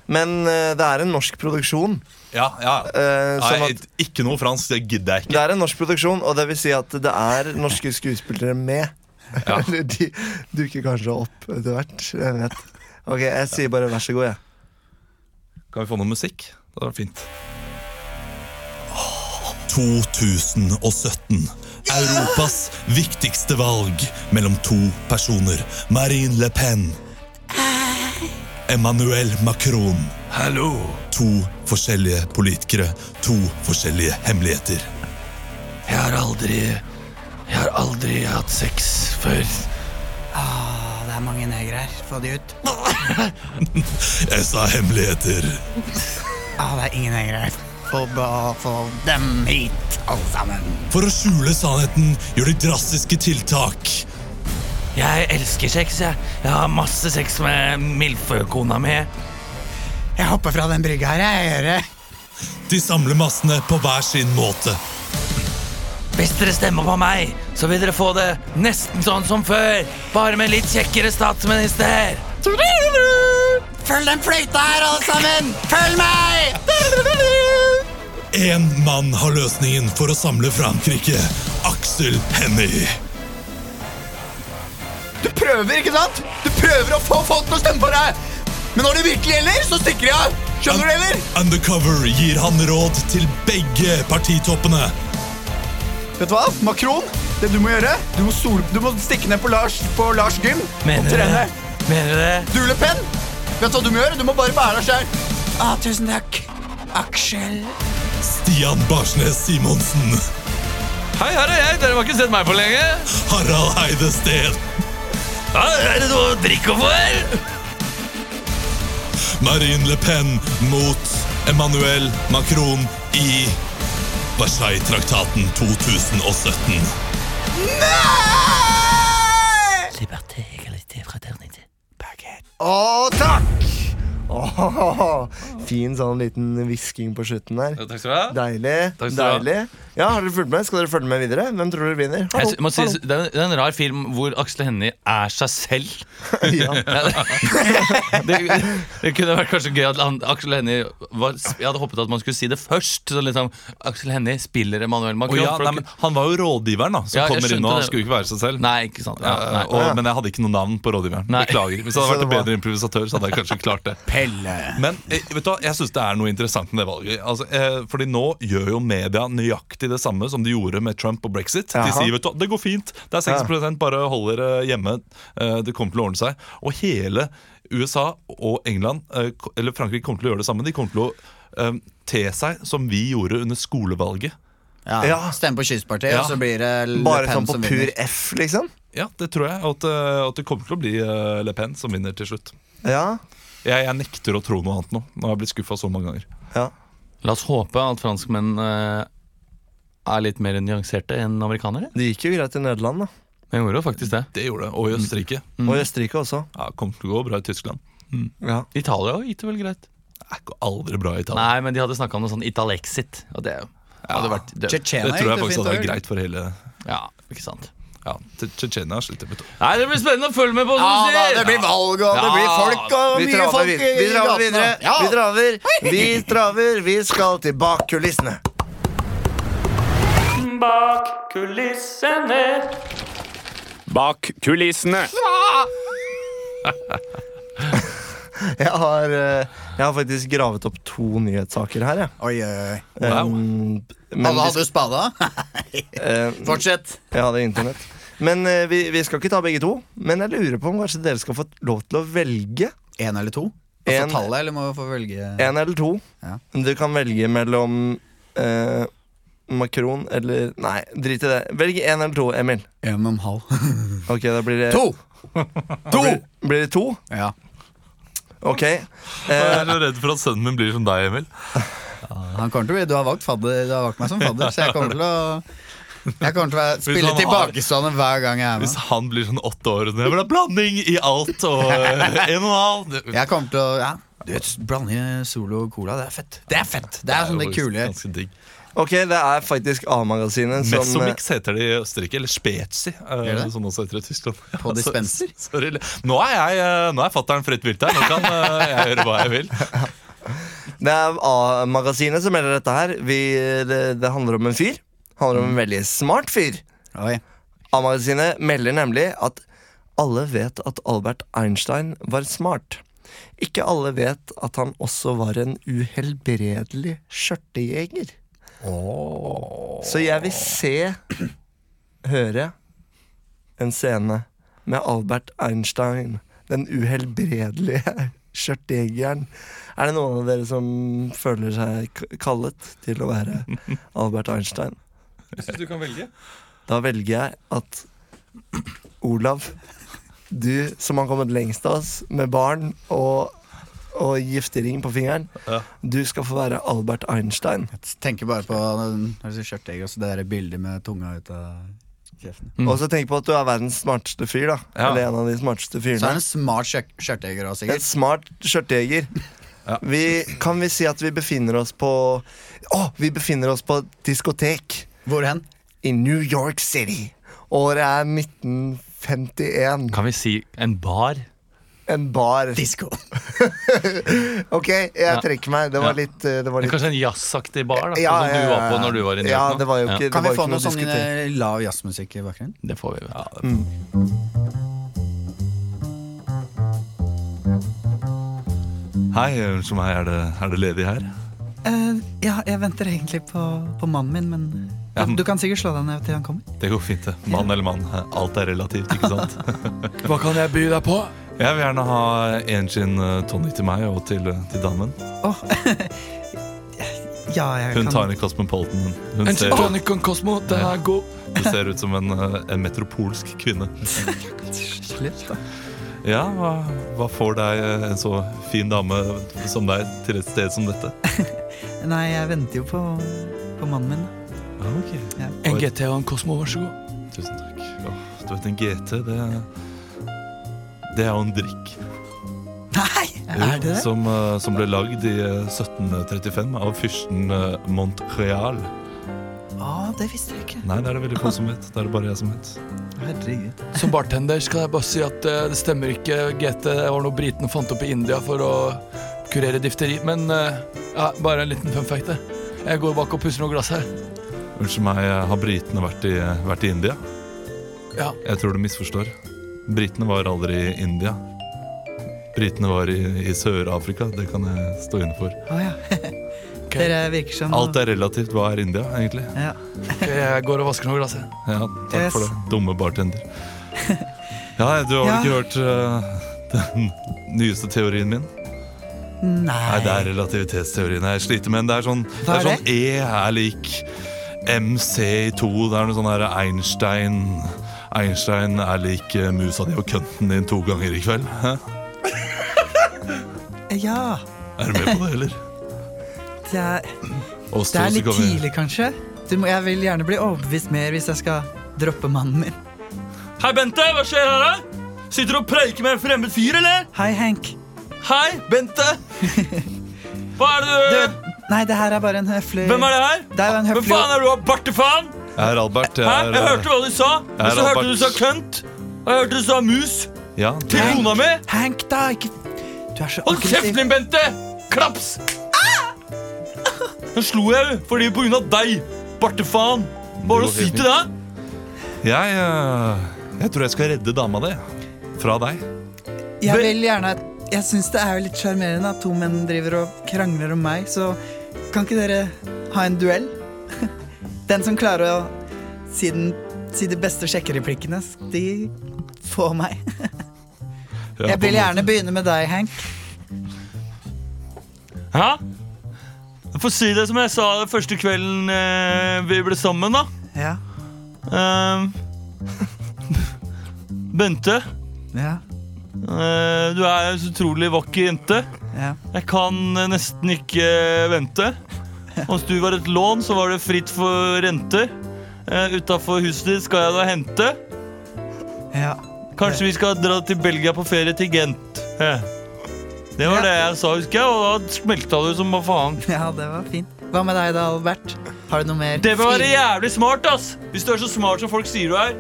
S1: Men eh, det er en norsk produksjon.
S4: Ja, ja
S1: eh, sånn
S4: Nei,
S1: at
S4: ikke noe fransk, det gidder jeg
S1: det
S4: ikke
S1: er en norsk produksjon, og det vil si at det er norske *laughs* skuespillere med. Eller de dukker kanskje opp etter hvert. Jeg vet. Ok, jeg sier bare vær så god, jeg.
S4: Kan vi få noe musikk? Det hadde vært fint.
S8: 2017. Europas viktigste valg mellom to personer. Marine Le Pen. Emmanuel Macron. Hallo! To forskjellige politikere. To forskjellige hemmeligheter.
S2: Jeg har aldri Jeg har aldri hatt sex før.
S3: Ah, det er mange negere her. Få de ut. *laughs*
S8: Jeg sa hemmeligheter.
S3: Ah, det er ingen negere her. Få, ba- få dem hit, alle sammen.
S8: For å skjule sannheten gjør de drastiske tiltak.
S5: Jeg elsker sex, jeg. Jeg har masse sex med milføkona mi.
S3: Jeg hopper fra den brygga her, jeg gjør det.
S8: De samler massene på hver sin måte.
S5: Hvis dere stemmer på meg, så vil dere få det nesten sånn som før. Bare med litt kjekkere statsminister.
S3: Følg den fløyta her, alle sammen! Følg meg!
S8: Én mann har løsningen for å samle Frankrike. Aksel Hennie.
S3: Du prøver, ikke sant? Du prøver å få folk til å stemme på deg! Men når det virkelig gjelder, så stikker de av! Skjønner du, eller?
S8: Undercover gir han råd til begge partitoppene.
S3: Vet du hva? Macron, det du må gjøre, du må, sol, du må stikke ned på Lars, på Lars gym og
S5: Mener
S3: trene.
S5: dere, mener dere
S3: Du, Le Pen, vet du hva du må gjøre? Du må bare være deg sjøl. Ah, tusen takk. Aksel.
S8: Stian Barsnes Simonsen.
S2: Hei, her er jeg! Dere har ikke sett meg på lenge.
S8: Harald Heide Steen.
S5: Ja, Er det noe å drikke for?
S8: Marine Le Pen mot Emmanuel Macron i Versailles-traktaten 2017.
S5: Liberté, égalité, fraternité.
S1: Å, takk! Åh, fin sånn liten hvisking på slutten der.
S2: Takk skal du ha.
S1: Deilig.
S2: Takk skal du
S1: deilig Ja, Har dere fulgt med? Skal dere følge med videre? Hvem tror dere vinner?
S2: Jeg sy- må si, det er en- det er en rar film hvor Aksel Hennie er seg selv.
S4: *laughs*
S1: ja.
S2: Det, *laughs* det kunne vært kanskje gøy at han, Aksel Hennie var, Jeg hadde håpet at man skulle si det først. Så liksom, Aksel Hennie spiller Emmanuel
S4: Å
S2: Macron.
S4: ja,
S2: for
S4: nei,
S2: å
S4: men
S2: kunne-
S4: han var jo rådgiveren, da. Som
S2: Ja, jeg
S4: kommer inn og
S2: skjønte
S4: han
S2: det.
S4: skulle jo ikke være seg selv.
S2: nei, ikke sant. Ja,
S4: Eh,
S2: nei.
S4: og, men jeg hadde ikke noe navn på rådgiveren.
S2: Nei.
S4: Beklager. Hvis
S1: Så
S4: jeg hadde vært en
S1: det var-
S4: bedre improvisatør, så hadde jeg
S1: *laughs*
S4: kanskje klart det. Men eh, vet du hva, jeg syns det er noe interessant med det valget. Altså, eh, fordi nå gjør jo media nøyaktig det samme som de gjorde med Trump og brexit.
S1: Jaha.
S4: De sier vet du, hva, det går fint, det er 6 bare holder eh, hjemme. Eh, det kommer til å ordne seg. Og hele USA og England, eh, ko- eller Frankrike, kommer til å gjøre det samme. De kommer til å eh, te seg som vi gjorde under skolevalget.
S3: Ja,
S1: Ja.
S3: Stem på Kystpartiet,
S4: Ja.
S3: og så blir det Le
S1: Bare
S3: Pen
S1: sånn på
S3: som
S1: pur
S3: vinner.
S1: F, liksom?
S4: Ja, det tror jeg. Og at, eh, at det kommer til å bli eh, Le Pen som vinner til slutt.
S1: Ja.
S4: Jeg, jeg nekter å tro noe annet nå. Nå har jeg blitt skuffa så mange ganger.
S1: ja.
S2: La oss håpe at franskmenn eh, er litt mer nyanserte enn amerikanere.
S1: Det gikk jo greit i Nederland, da.
S2: Men gjorde jo faktisk det. Mm.
S4: Det gjorde det. Og i Østerrike.
S1: Og i Østerrike også.
S4: Ja, kommer til å gå bra i Tyskland.
S2: Mm.
S1: Ja.
S2: Italia også gikk det vel greit.
S4: Det går aldri bra i Italia.
S2: Nei, men de hadde snakka om noe sånn Italexit. Og det hadde vært død.
S3: Tsjetsjena
S4: det tror
S3: gikk
S4: jeg faktisk
S3: fint
S4: hadde vært
S3: over.
S4: greit for hele
S2: Ja, ikke sant.
S4: Ja, Tsje- Tsjetsjenia sliter med to.
S2: Nei, Det blir spennende å følge med på!
S3: Ja
S2: som du
S3: da,
S2: sier.
S3: det blir valg, og det
S2: Ja.
S3: blir folk, og
S1: Vi
S3: mye
S1: traver,
S3: folk i
S1: vid- vi traver
S3: gatene.
S1: videre.
S3: Ja.
S1: Vi traver, vi traver. Vi skal til bak kulissene.
S9: Bak kulissene. Bak
S2: *laughs*
S9: kulissene.
S1: Jeg har, eh, jeg har faktisk gravet opp to nyhetssaker her, jeg.
S3: Oi, oi, oi.
S1: Um, men
S3: Alle
S1: vi
S3: hadde *laughs* spada?
S1: Eh,
S3: Fortsett.
S1: Jeg hadde internett. Men eh, vi, vi skal ikke ta begge to. Men jeg lurer på om kanskje dere skal få lov til å velge
S3: Én eller to? Få
S1: En-
S3: tallet, eller må vi få velge
S1: én eller to.
S3: Ja.
S1: Du kan velge mellom eh, Macron eller Nei, drit i det. Velg én eller to, Emil.
S3: En og en halv. *laughs*
S1: Ok, da blir det
S3: To! To!
S1: Blir, blir det to?
S3: Ja.
S1: Ok.
S4: *laughs* Jeg
S1: Eh,
S4: er så redd for at sønnen min blir som deg, Emil.
S3: Han kommer til å bli, du har valgt fadder, du har valgt meg som fadder, så jeg kommer til å
S4: *laughs*
S3: jeg kommer til å være-
S4: Hvis
S3: spille
S4: han har-
S3: tilbakestående hver gang jeg er
S4: Hvis
S3: med.
S4: han blir sånn åtte år og det blir blanding i alt og *laughs*
S3: *laughs*
S4: eh, en og en halv det-
S3: Jeg kommer til å ja. Du vet, Blande solo og cola, det er fett. Det er fett, det er sånn det
S4: jo
S3: kule.
S4: Ganske digg.
S1: ok, det er faktisk A-magasinet som eh,
S4: Mesomix heter det i Østerrike. Eller Spezi, eh,
S3: sånn, det?
S4: som også heter det i Tyskland.
S3: På
S4: Ja, så-
S3: dispenser?
S4: *laughs* Sorry. Nå er jeg, eh, nå er fatter'n fritt vilt her. Nå kan eh, jeg gjøre hva jeg vil.
S1: Det er A-magasinet som melder dette her. Vi, det, det handler om en fyr. Handler om en veldig smart fyr.
S3: Oi.
S1: A-magasinet melder nemlig at alle vet at Albert Einstein var smart. Ikke alle vet at han også var en uhelbredelig skjørtejeger. Så jeg vil se, høre, en scene med Albert Einstein, den uhelbredelige *laughs* skjørtjegeren. Er det noen av dere som føler seg k- kallet til å være Albert Einstein?
S3: du kan velge.
S1: Da velger jeg at *clears throat* Olav, du som har kommet lengst av oss med barn og, og giftering på fingeren, du skal få være Albert Einstein.
S10: Jeg tenker bare på den- altså, skjørtegg og så det der bildet med tunga ut av kjeften.
S3: Mm.
S1: Og så tenk på at du er verdens smarteste fyr, da.
S4: Ja.
S1: Eller en av de smarteste
S10: Så er
S1: fyrene.
S10: han en smart skjør- skjørtejeger også,
S1: En
S10: sikkert.
S1: smart skjørtejeger. Vi, kan vi si at vi befinner oss på Å, vi befinner oss på et diskotek
S10: Hvor hen?
S1: i New York City. Året er 1951.
S3: Kan vi si en bar?
S1: En bar.
S10: Disko.
S1: *laughs* Ok, jeg trekker meg. Det
S3: Ja.
S1: var litt, eh, det var litt
S3: Kanskje en jazzaktig bar, da,
S1: Ja,
S3: sånn som
S1: ja,
S3: du var på
S1: ja.
S3: når du var i New
S1: Ja,
S3: York nå?
S1: det var jo ikke,
S10: Kan
S1: det
S10: vi
S1: var
S10: få
S1: ikke noe
S10: noe
S1: å
S10: sånn
S1: diskutere.
S10: eh, lav jazzmusikk i bakgrunnen? Mm.
S3: Det får vi, vet du.
S4: Hei, unnskyld meg, er det, er det ledig her?
S10: Eh, ja, jeg venter egentlig på, mannen min, men
S4: Ja, men- du
S10: kan sikkert slå deg ned til han kommer.
S4: Det går fint, det. Mann eller mann. Alt er relativt, ikke sant?
S2: *laughs* Hva kan jeg by deg på?
S4: Jeg vil gjerne ha en gin eh, tonic til meg og til, eh, til damen.
S10: Ja, jeg
S4: Hun tar en Cosmopolitan. hun. Hun
S2: En
S4: ser,
S2: gin tonic og en Cosmo, den er god.
S4: hun ser ut som en, eh, en metropolsk kvinne. Ja, hva, hva får deg eh, en så fin dame som deg til et sted som dette?
S10: Nei, jeg venter jo på, mannen min.
S2: Ah, En GT og en Cosmo, vær så god.
S4: Tusen takk. Åh, du vet, en GT, det, det er jo en drikk.
S10: Nei, er det det?
S4: Som, eh, som ble lagd i eh, 1735 av fyrsten eh, Montreal.
S10: Å, det visste jeg ikke.
S4: Nei, det er det veldig få som vet. Det er det bare jeg som vet.
S10: Herregud.
S2: Som bartender skal jeg bare si at eh, det stemmer ikke. GT var noe britene fant opp i India for å kurere difteri. Men eh, ja, bare en liten fun fact, det. Jeg går bak og pusser noen glass her.
S4: Unnskyld meg, eh, har britene vært i, vært i India?
S2: Ja.
S4: Jeg tror du misforstår. Britene var aldri i India. Britene var i, i Sør-Afrika, det kan jeg stå inne for.
S10: Å ja. Dere virker som
S4: Alt er relativt. Hva er India, egentlig?
S10: ja.
S2: Ok, Jeg går og vasker noen glass her.
S4: Ja, takk
S10: Yes.
S4: for det, dumme
S10: *laughs*
S4: bartender. Ja, du har vel
S10: Ja.
S4: ikke hørt eh, *laughs* den nyeste teorien min? Nei, det er relativitetsteorien jeg sliter med. Det er sånn, det
S10: Hva
S4: er
S10: er
S4: sånn E er lik MC2. Det er noe sånn her Einstein Einstein er lik eh, musa di og kønten din to ganger i kveld. Hæ?
S10: Ja.
S4: Er du med på det, eller?
S10: Det er,
S4: Oss
S10: det
S4: to,
S10: er
S4: så
S10: litt
S4: kan vi-
S10: tidlig, kanskje. Du må, jeg vil gjerne bli overbevist mer hvis jeg skal droppe mannen min.
S11: Hei, Bente, hva skjer her? da? Sitter du og preiker med en fremmed fyr, eller?
S10: Hei, Henk.
S11: Hei, Bente! Hva er det du,
S10: Du, nei, det her er bare en høflig
S11: Hvem er det her?
S10: Det er jo en
S11: Hvem
S10: høflig
S11: faen er du, bartefaen?
S4: Jeg er Albert.
S11: Hæ?
S4: Jeg
S11: Jeg
S4: er,
S11: hørte hva du sa. Og så hørte
S4: Albert.
S11: du sa kønt. Og jeg hørte du sa mus
S4: ja,
S11: til
S4: det-
S11: kona mi.
S10: Hank, da! Ikke Du er så
S11: Hold kjeften din, Bente! Klaps! Nå slo jeg henne fordi på grunn av deg, bartefaen. Hva har du
S4: Det går
S11: å si
S4: helt
S11: til deg?
S4: jeg, eh, jeg tror jeg skal redde dama di fra deg.
S10: Jeg vil gjerne Jeg syns det er jo litt sjarmerende at to menn driver og krangler om meg, så kan ikke dere ha en duell? *laughs* Den som klarer å si, den, si de beste sjekkereplikkene, de får meg. Jeg
S4: Ja, på en
S10: vil
S4: måte.
S10: gjerne begynne med deg, Hank.
S11: Hæ? Jeg får si det som jeg sa det første kvelden eh, vi ble sammen, da.
S10: Ja.
S11: Ehm, Eh, *laughs* Bente,
S10: Ja.
S11: eh, du er en så utrolig vakker jente.
S10: Ja.
S11: Jeg kan eh, nesten ikke eh, vente. Mens du var et lån, så var det fritt for renter. Uh, Utafor huset ditt skal jeg da hente.
S10: ja.
S11: Kanskje vi skal dra til Belgia på ferie til Gent. Eh. Det var
S10: Ja.
S11: det jeg sa, husker jeg, og da smelta du som hva faen.
S10: *laughs* ja, det var fint. Hva med deg da, Albert? Har du noe mer?
S11: Det må være jævlig smart, ass! Hvis du er så smart som folk sier du er.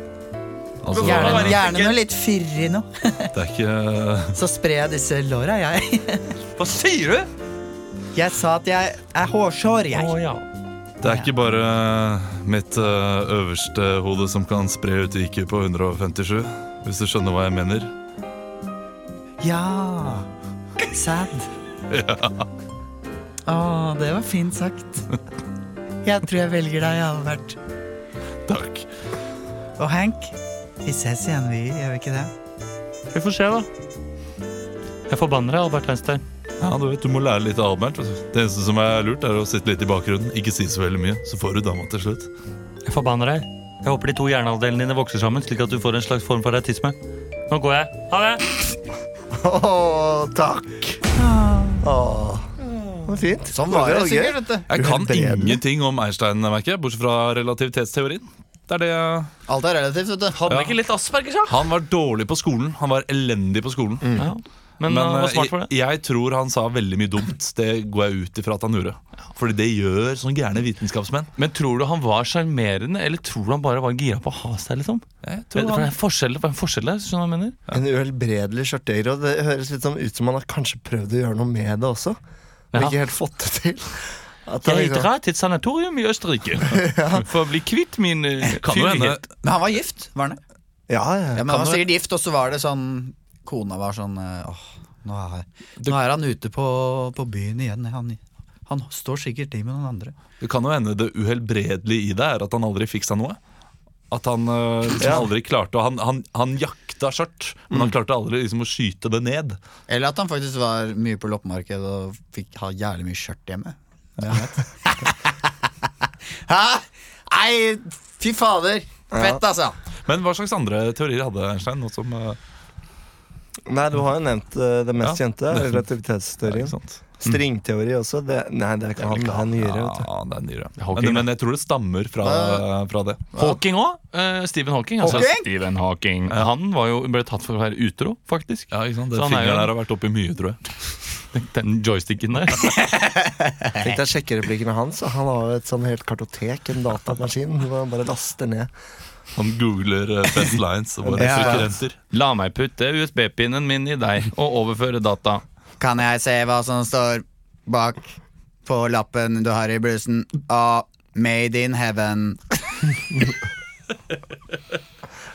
S4: Altså,
S10: Gjerne,
S11: Bare-
S10: gjerne noe litt fyrig nå.
S4: det er ikke
S10: Så sprer jeg disse låra, jeg.
S11: *laughs* Hva sier du?
S10: Jeg sa at jeg er hårsår, jeg.
S11: ja.
S4: Det er ikke bare mitt eh, øverste hode som kan spre ut IQ på 157, hvis du skjønner hva jeg mener.
S10: Ja.
S3: Sad. Å, det var fint sagt. Jeg tror jeg velger deg, Albert.
S4: Takk.
S3: Og Hank, vi ses igjen, vi, gjør vi ikke det?
S5: Vi får se, da. Jeg forbanner deg, Albert Einstein.
S4: Ja, Du vet, du må lære litt av Albert. Det eneste som er lurt, er å sitte litt i bakgrunnen. Ikke si så veldig mye, så får du dama til slutt.
S5: Jeg forbanner deg. Jeg håper de to hjernehalvdelene dine vokser sammen, slik at du får en slags form for autisme. Nå går jeg. Ha det!
S1: Å, takk.
S10: Ah.
S1: Åh. Det var fint. Sånn var det. det var gøy.
S4: Jeg kan
S1: Uhelbredelig.
S4: ingenting om Einstein, merker jeg, bortsett fra relativitetsteorien. Det er det jeg
S10: Alt er relativt, vet du.
S5: Hadde ikke litt Aspergers, da?
S4: Han var dårlig på skolen. Han var elendig på skolen.
S5: Ja. Men,
S4: Men
S5: han var
S4: eh,
S5: smart for det.
S4: jeg, jeg tror han sa veldig mye dumt. Det går jeg ut ifra at han gjorde. Fordi det gjør sånne gærne vitenskapsmenn.
S2: Men tror du han var sjarmerende, eller tror du han bare var gira på å ha seg? liksom?
S4: Jeg
S2: Det
S4: tror
S2: for det
S4: han,
S2: er forskjell, for en forskjell der, skjønner du hva jeg mener?
S1: En uhelbredelig skjørteiro. Det høres litt som, ut som han har kanskje prøvd å gjøre noe med det også. Men
S2: Ja.
S1: ikke helt fått det til. At det
S2: Jeg
S1: liksom-
S2: drar til et sanatorium i Østerrike for å bli kvitt min eh,
S4: kan jo hende
S2: fyrighet.
S10: Men han var gift, var han det?
S1: ja,
S10: Ja,
S1: ja.
S10: men han var sikkert gift, og så var det sånn Kona var sånn eh, Åh, nå er, nå er han ute på, på byen igjen. Han, han står sikkert i med noen andre.
S4: det kan jo hende det uhelbredelige i det er at han aldri fikk seg noe. At han eh, liksom
S1: Ja.
S4: aldri klarte å han, han, han jakta skjørt, men han klarte aldri liksom å skyte det ned.
S10: Eller at han faktisk var mye på loppemarked og fikk ha jævlig mye skjørt hjemme. Hæ? Nei, fy fader! Fett, altså.
S4: Men hva slags andre teorier hadde Einstein? Noe som, eh,
S1: Nei, du har jo nevnt eh, det mest
S4: Ja.
S1: kjente.
S4: er ikke
S1: Relativitetsteorien.
S4: sant? Mm.
S1: Stringteori også. Det, nei, det er ikke han. Det er nyere. vet du.
S4: Ja, det er nyere.
S2: Hawking,
S4: Men, men jeg tror det stammer fra, fra det.
S2: Hawking òg. Stephen Hawking. Altså Stephen Hawking. Han var jo, ble tatt for å være utro, faktisk.
S4: Ja, ikke sant?
S2: Så
S4: Det
S2: han er jo
S4: fingeren
S2: en-
S4: der har vært oppi mye, tror jeg.
S2: *laughs* Den joysticken der.
S4: *laughs*
S1: Tenk deg sjekkereplikkene hans. da. Han har jo et sånn helt kartotek, en datamaskin. Hvor han bare laster ned.
S4: Han googler eh, best lines og bare
S1: Ja.
S4: trykker enter.
S2: La meg putte USB-pinnen min i deg og overføre data.
S10: Kan jeg se hva som står bak på lappen du har i blusen? Ah, made in heaven.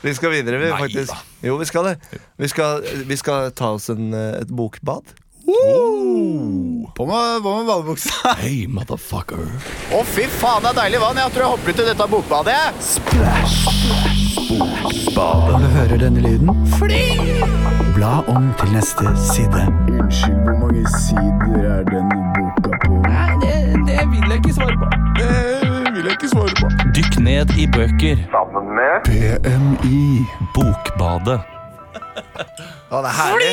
S1: Vi skal videre, vi, faktisk. Jo, vi skal det. Vi skal, vi skal ta oss en, eh, et bokbad.
S10: På med, på med badebuksa.
S2: Hey, motherfucker.
S10: Å, fy faen, det er deilig vann. Jeg tror jeg hopper ut i dette bokbadet.
S3: Når du hører denne lyden,
S10: *laughs*
S3: bla om til neste side.
S5: Dykk ned i bøker. Sammen med PMI. Bokbadet.
S1: Å, det er herlig.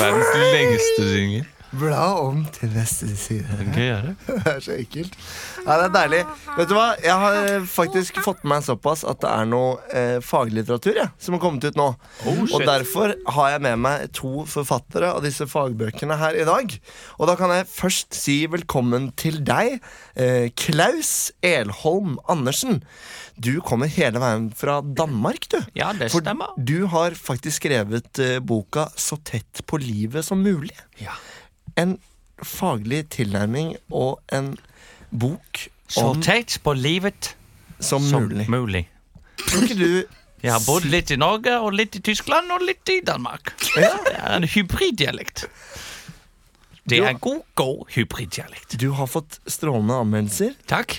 S2: Verdens lengste synger.
S1: Bla om til neste side.
S5: Gøy er det.
S1: *laughs* Det er så ekkelt. Ja, det er deilig. Vet du hva? Jeg har eh, faktisk fått med meg såpass at det er noe eh, faglitteratur ja, som har kommet ut nå.
S2: Oh,
S1: og derfor har jeg med meg to forfattere av disse fagbøkene her i dag. Og da kan jeg først si velkommen til deg, eh, Klaus Elholm Andersen. Du kommer hele veien fra Danmark, du.
S2: Ja, det
S1: For du har faktisk skrevet eh, boka 'Så tett på livet som mulig'. En faglig tilnærming og en bok
S5: Så
S1: om
S5: tett på livet
S1: som
S5: som
S1: mulig.
S5: mulig.
S1: Tror ikke du
S5: Jeg har bodd litt i Norge, og litt i Tyskland, og litt i Danmark. Det er en hybriddialekt. Det er en god, god hybriddialekt.
S1: Du har fått strålende anmeldelser.
S5: Takk.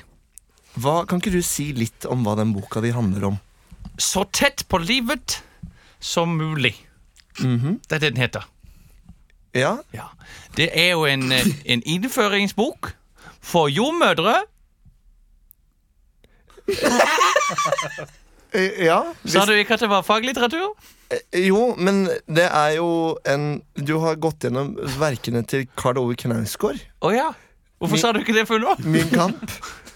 S1: Hva, kan ikke du si litt om hva den boka di handler om?
S5: Så tett på livet som mulig. Det er det den heter.
S1: Ja,
S5: Ja. Det er jo en, eh, en innføringsbok for jordmødre.
S1: eh, ja. Eh,
S5: Sa du ikke at det var faglitteratur?
S1: Jo, men det er jo en Du har gått gjennom verkene til Karl Ove Knausgård.
S5: Å ja. Hvorfor sa du ikke det før nå?
S1: Min kamp.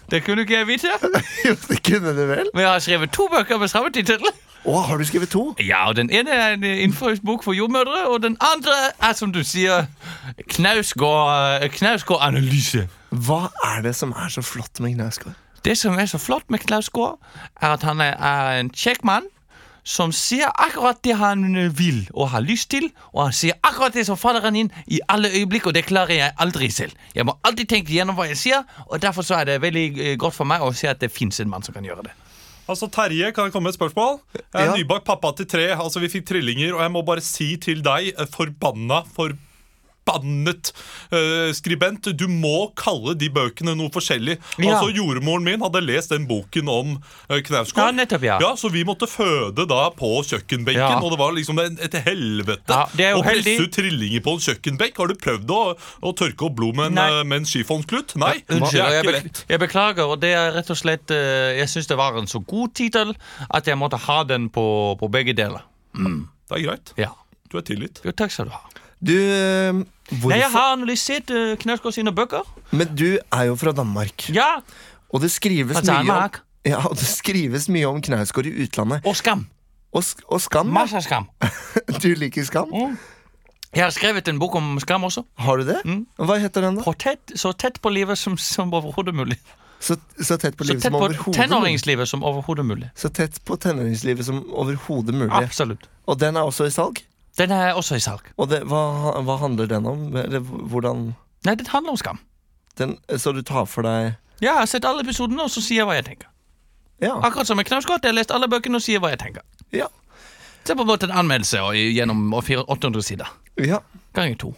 S5: Det kunne ikke jeg vite.
S1: *laughs* Jo, det kunne du vel?
S5: Men jeg har skrevet to bøker med samme tittel.
S1: Å, har du skrevet to?
S5: Ja, og den ene er en innføringsbok for jordmødre, og den andre er, som du sier, Knausgård- Knausgård-analyse.
S1: Hva er det som er så flott med Knausgård?
S5: det som er så flott med Knausgård, er at han er, er en kjekk mann som sier akkurat det han eh, vil og har lyst til, og han sier akkurat det som faller han inn i alle øyeblikk, og det klarer jeg aldri selv. Jeg må alltid tenke gjennom hva jeg sier, og derfor så er det veldig eh, godt for meg å se at det fins en mann som kan gjøre det.
S6: Altså, Terje, kan jeg komme med et spørsmål? Jeg er
S1: Ja.
S6: nybakt pappa til tre. Altså, Vi fikk trillinger, og jeg må bare si til deg, eh, forbanna for
S4: forbannet eh, skribent! Du må kalle de bøkene noe forskjellig.
S5: Ja.
S4: Altså, Jordmoren min hadde lest den boken om uh,
S5: Ja,
S4: Knausgård.
S5: nettopp, ja.
S4: Ja, så vi måtte føde da på kjøkkenbenken,
S5: Ja.
S4: og det var liksom en- et helvete.
S5: Ja, det er jo
S4: å presse
S5: heldig.
S4: ut trillinger på en kjøkkenbenk. Har du prøvd å, å tørke opp blod med en,
S5: Nei.
S4: eh, med en skifonsklut? Nei,
S5: Unnskyld,
S4: det
S5: og
S4: er
S5: jeg,
S4: ikke
S5: bek
S4: lett.
S5: jeg beklager, og det er rett og slett eh, Jeg syns det var en så god tittel at jeg måtte ha den på, på begge deler. Mm.
S4: Det er greit.
S5: Ja.
S4: Du er tilgitt.
S5: Jo, takk skal du ha.
S1: Du, eh,
S5: Nei, jeg
S1: hvorfor?
S5: har analysert uh, Knausgård sine bøker.
S1: Men du er jo fra Danmark.
S5: Ja,
S1: Og det skrives,
S5: Fra
S1: mye om,
S5: Danmark.
S1: ja, og det skrives mye om Knausgård i utlandet.
S5: Og skam.
S1: Og, sk- og Skam? ja.
S5: Masse skam.
S1: *laughs*
S5: Mm.
S1: Du liker Skam?
S5: Jeg har skrevet en bok om skam også.
S1: Har du det?
S5: Mm.
S1: Hva heter den, da?
S5: På tett, så tett på livet som, som overhodet mulig.
S1: Så, så tett på
S5: Så
S1: livet
S5: tett
S1: som
S5: på
S1: overhodet mulig.
S5: tenåringslivet som overhodet mulig.
S1: Så tett på tenåringslivet som overhodet mulig.
S5: Absolutt.
S1: Og den er også i salg?
S5: Den er også i salg.
S1: Og det, hva, hva handler den om? Eller hvordan
S5: Nei, den handler om skam.
S1: den, Så du tar for deg
S5: Jeg har sett alle episodene, og så sier jeg hva jeg tenker.
S1: Ja.
S5: Akkurat som med Knausgård. Jeg har lest alle bøkene og sier hva jeg tenker.
S1: Ja.
S5: Det er på en måte en anmeldelse og, i- gjennom og fire- 800 sider.
S1: ja.
S5: Ganger to.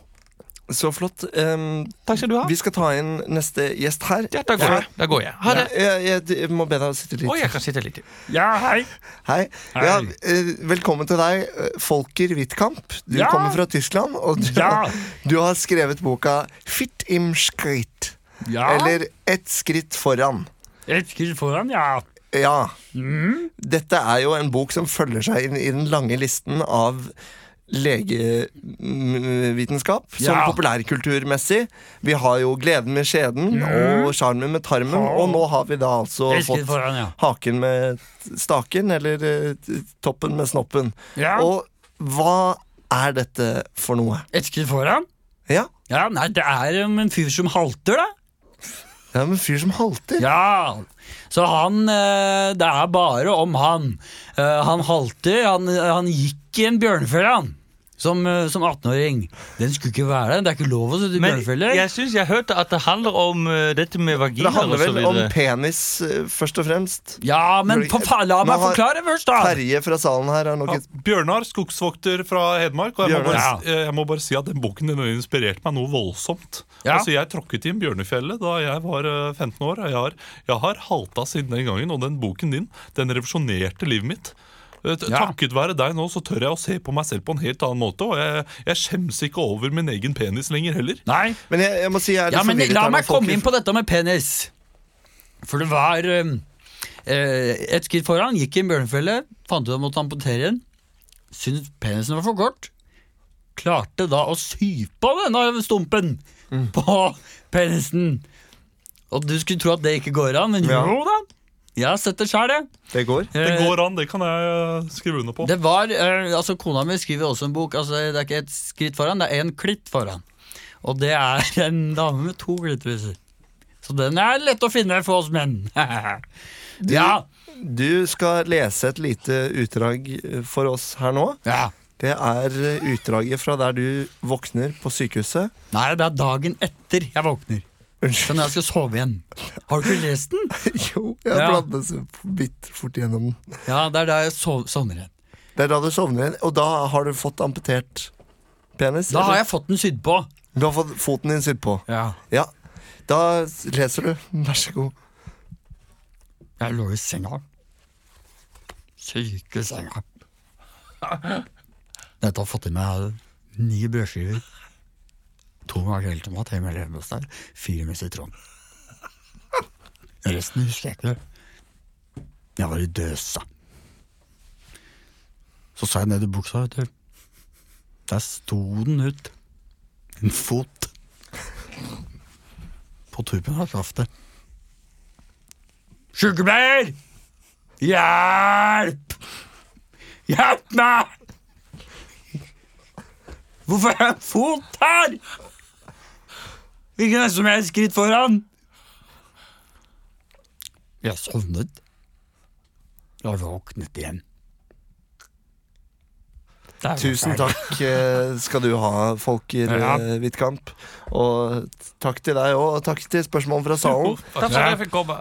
S1: Så flott. Em,
S5: Takk skal du ha.
S1: vi skal ta inn neste gjest her.
S5: Ja, takk for det. Da går jeg. Ha det.
S1: Jeg, jeg, jeg må be deg å sitte litt.
S5: Og jeg kan sitte litt til.
S1: Hei. Ja, eh, velkommen til deg, eh, Folker Wittkamp. Du kommer fra Tyskland, og du, *laughs* du har skrevet boka 'Fitt im Skritt'. Eller 'Ett skritt foran'.
S9: Et skritt foran, ja. Mm.
S1: Ja. Dette er jo en bok som følger seg inn i den lange listen av legevitenskap, som populærkulturmessig. Vi har jo 'Gleden med skjeden' og 'Sjarmen med tarmen', og nå har vi da altså
S9: Et Mm. skritt
S1: fått
S9: foran, ja.
S1: haken med staken, eller eh, t- toppen med snoppen.
S9: Ja.
S1: Og hva er dette for noe?
S9: Et skritt foran?
S1: Ja,
S9: Ja, nei, det er om en fyr som halter, da.
S1: det er en fyr som halter.
S9: Ja, så han eh, Det er bare om han. Eh, Han halter. Han, han gikk i en bjørnefelle, han. Som, eh, som 18-åring. Den skulle ikke være der. Det er ikke lov å sitte i
S5: Men
S9: bjørnefelle.
S5: jeg syns jeg hørte at det handler om eh, dette med
S1: Det
S5: vaginaer og
S1: handler
S5: så
S1: vel om
S5: videre.
S1: penis, eh, først og fremst.
S9: Ja, men på, fa- la
S1: Nå
S9: meg
S1: har-
S9: forklare først, da!
S1: Terje fra salen her har nok
S4: Ja,
S1: et
S4: Bjørnar, skogsvokter fra Hedmark. Og jeg må,
S1: Bjørnar.
S4: bare, si- eh, jeg må bare si at den boken din har inspirert meg noe voldsomt.
S9: Ja.
S4: Altså, Jeg tråkket i en bjørnefjelle da jeg var eh, 15 år. Og jeg har, jeg har halta siden den gangen, og den boken din den revolusjonerte livet mitt. Eh, t-
S9: Ja.
S4: Takket være deg nå så tør jeg å se på meg selv på en helt annen måte. Og jeg, jeg skjems ikke over min egen penis lenger heller.
S9: Nei,
S1: Men jeg, jeg må si jeg er litt
S9: ja, men
S1: forvirret.
S9: La
S1: her nå,
S9: meg komme
S1: Folker.
S9: inn på dette med penis. For det var eh, eh, Et skritt foran, gikk i en bjørnefelle, fant ut at han måtte amputere den. Syntes penisen var for kort. Klarte da å sy på denne stumpen
S1: Mm.
S9: på penisen. Og du skulle tro at det ikke går an, men
S1: Ja.
S9: jo da. Jeg har sett det sjøl, jeg.
S1: Det går.
S4: Det
S9: Eh,
S4: går an, det kan jeg eh, skrive under på.
S9: det var, eh, altså Kona mi skriver også en bok. altså Det er ikke et skritt foran, det er en klitt foran. Og det er en dame med to klitoriser. Så den er lett å finne for oss menn. *laughs* ja,
S1: Du skal lese et lite utdrag eh, for oss her nå.
S9: ja.
S1: Det er eh, utdraget fra der du våkner på sykehuset.
S9: Nei, det er dagen etter jeg våkner. Så
S1: Unnskyld.
S9: når jeg skal sove igjen. Har du ikke lest den?
S1: *laughs* Jo, jeg
S9: Ja.
S1: bladde så bitt fort gjennom den.
S9: Ja, det er da jeg sov sovner igjen.
S1: Det er da du sovner igjen, og da har du fått amputert penis?
S9: Da har
S1: eller?
S9: jeg fått den sydd på.
S1: Du har fått foten din sydd på.
S9: Ja.
S1: Ja. Da leser du. Vær så god.
S9: Jeg lå i senga. Syke senga. Dette har fått i meg ni brødskiver. To makrelltomat, en med leverpostei, fire med sitron. Resten husker jeg ikke. Jeg var i døsa. Så sa jeg ned i buksa, vet du. Der sto den ut. En fot. På tuppen av kraftet. Sykepleier! Hjelp! Hjelp meg! Hvorfor er jeg en fot her? Ikke nesten som jeg er et skritt foran. Jeg sovnet. Jeg våknet igjen. Der var
S1: Tusen
S9: jeg.
S1: takk eh, skal du ha, Folker
S9: Ja.
S1: eh, Hvitkamp. Og takk til deg òg, og takk til spørsmål fra salen.
S2: Takk for at jeg fikk komme.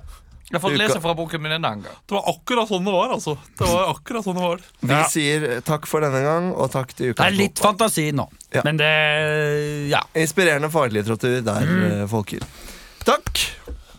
S5: Jeg har fått
S1: Uka-
S5: lese fra boken min en annen gang.
S4: Det var akkurat sånn det var, altså. Det var akkurat sånn det var.
S1: Vi sier takk for denne gang, og takk til
S9: Det er
S1: ukas
S9: litt fantasi nå,
S1: Ja.
S9: men det Ja. Mm.
S1: bok. Inspirerende faglitteratur der, eh, folker. Takk!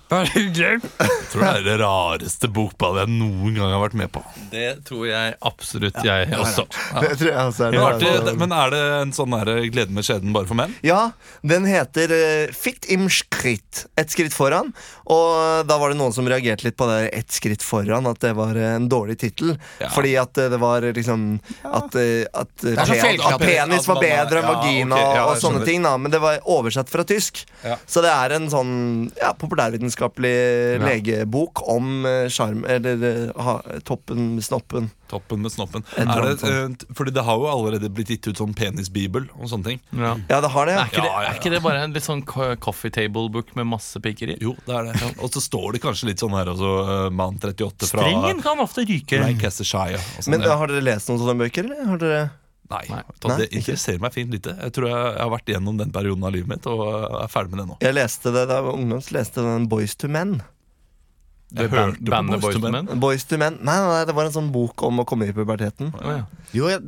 S9: Bare hyggelig.
S4: Jeg tror det er det rareste bokbadet jeg noen gang har vært med på.
S2: Det tror jeg absolutt jeg også.
S1: Det tror jeg også er det.
S4: Var det, men er det en sånn der glede med skjeden bare for menn?
S1: Ja, den heter eh, Fikt im skritt. Ett skritt foran. Og da var det noen som reagerte litt på det ett skritt foran, at det var eh, en dårlig tittel. Fordi at eh, det var liksom At, eh, at, eh,
S4: så
S1: pen, at
S4: feilknapp-
S1: penis var
S4: at man er-
S1: bedre enn
S4: ja,
S1: vagina
S4: ok, ja,
S1: og
S4: jeg
S1: sånne
S4: skjønner.
S1: ting, da. Men det var oversatt fra tysk. Så det er en sånn ja, populærvitenskapelig eh, legebok om eh, sjarm Eller eh, ha, toppen, snoppen.
S4: Toppen med snoppen.
S1: En
S4: Er det,
S1: dromfond.
S4: eh, fordi det har jo allerede blitt gitt ut sånn penisbibel og sånne ting.
S2: Ja.
S1: Ja, det har det.
S2: Er ikke, det, er ikke det bare en litt sånn co- coffee table book med masse pikeri?
S4: Jo, det er det. Og så står det kanskje litt sånn her også, eh, mann 38 fra
S5: Strengen kan ofte ryke.
S4: Lancashire. og sånn,
S1: Men
S4: ja.
S1: eh, har dere lest noen sånne bøker, eller? Har dere
S4: Nei,
S2: Nei.
S4: vet du hva,
S1: Nei,
S4: det interesserer meg fint lite. Jeg tror jeg, jeg har vært gjennom den perioden av livet mitt og eh, er ferdig med det nå.
S1: Jeg leste det da jeg var ungdom, så leste jeg den Boys to Men.
S4: Jeg hørte på Boyz
S2: Bandet Boys
S4: II
S2: to
S4: Men.
S2: Men?
S1: Boys to Men, nei, nei, nei, Det var en sånn bok om å komme i puberteten.
S2: Å, ja.
S10: Jo, jeg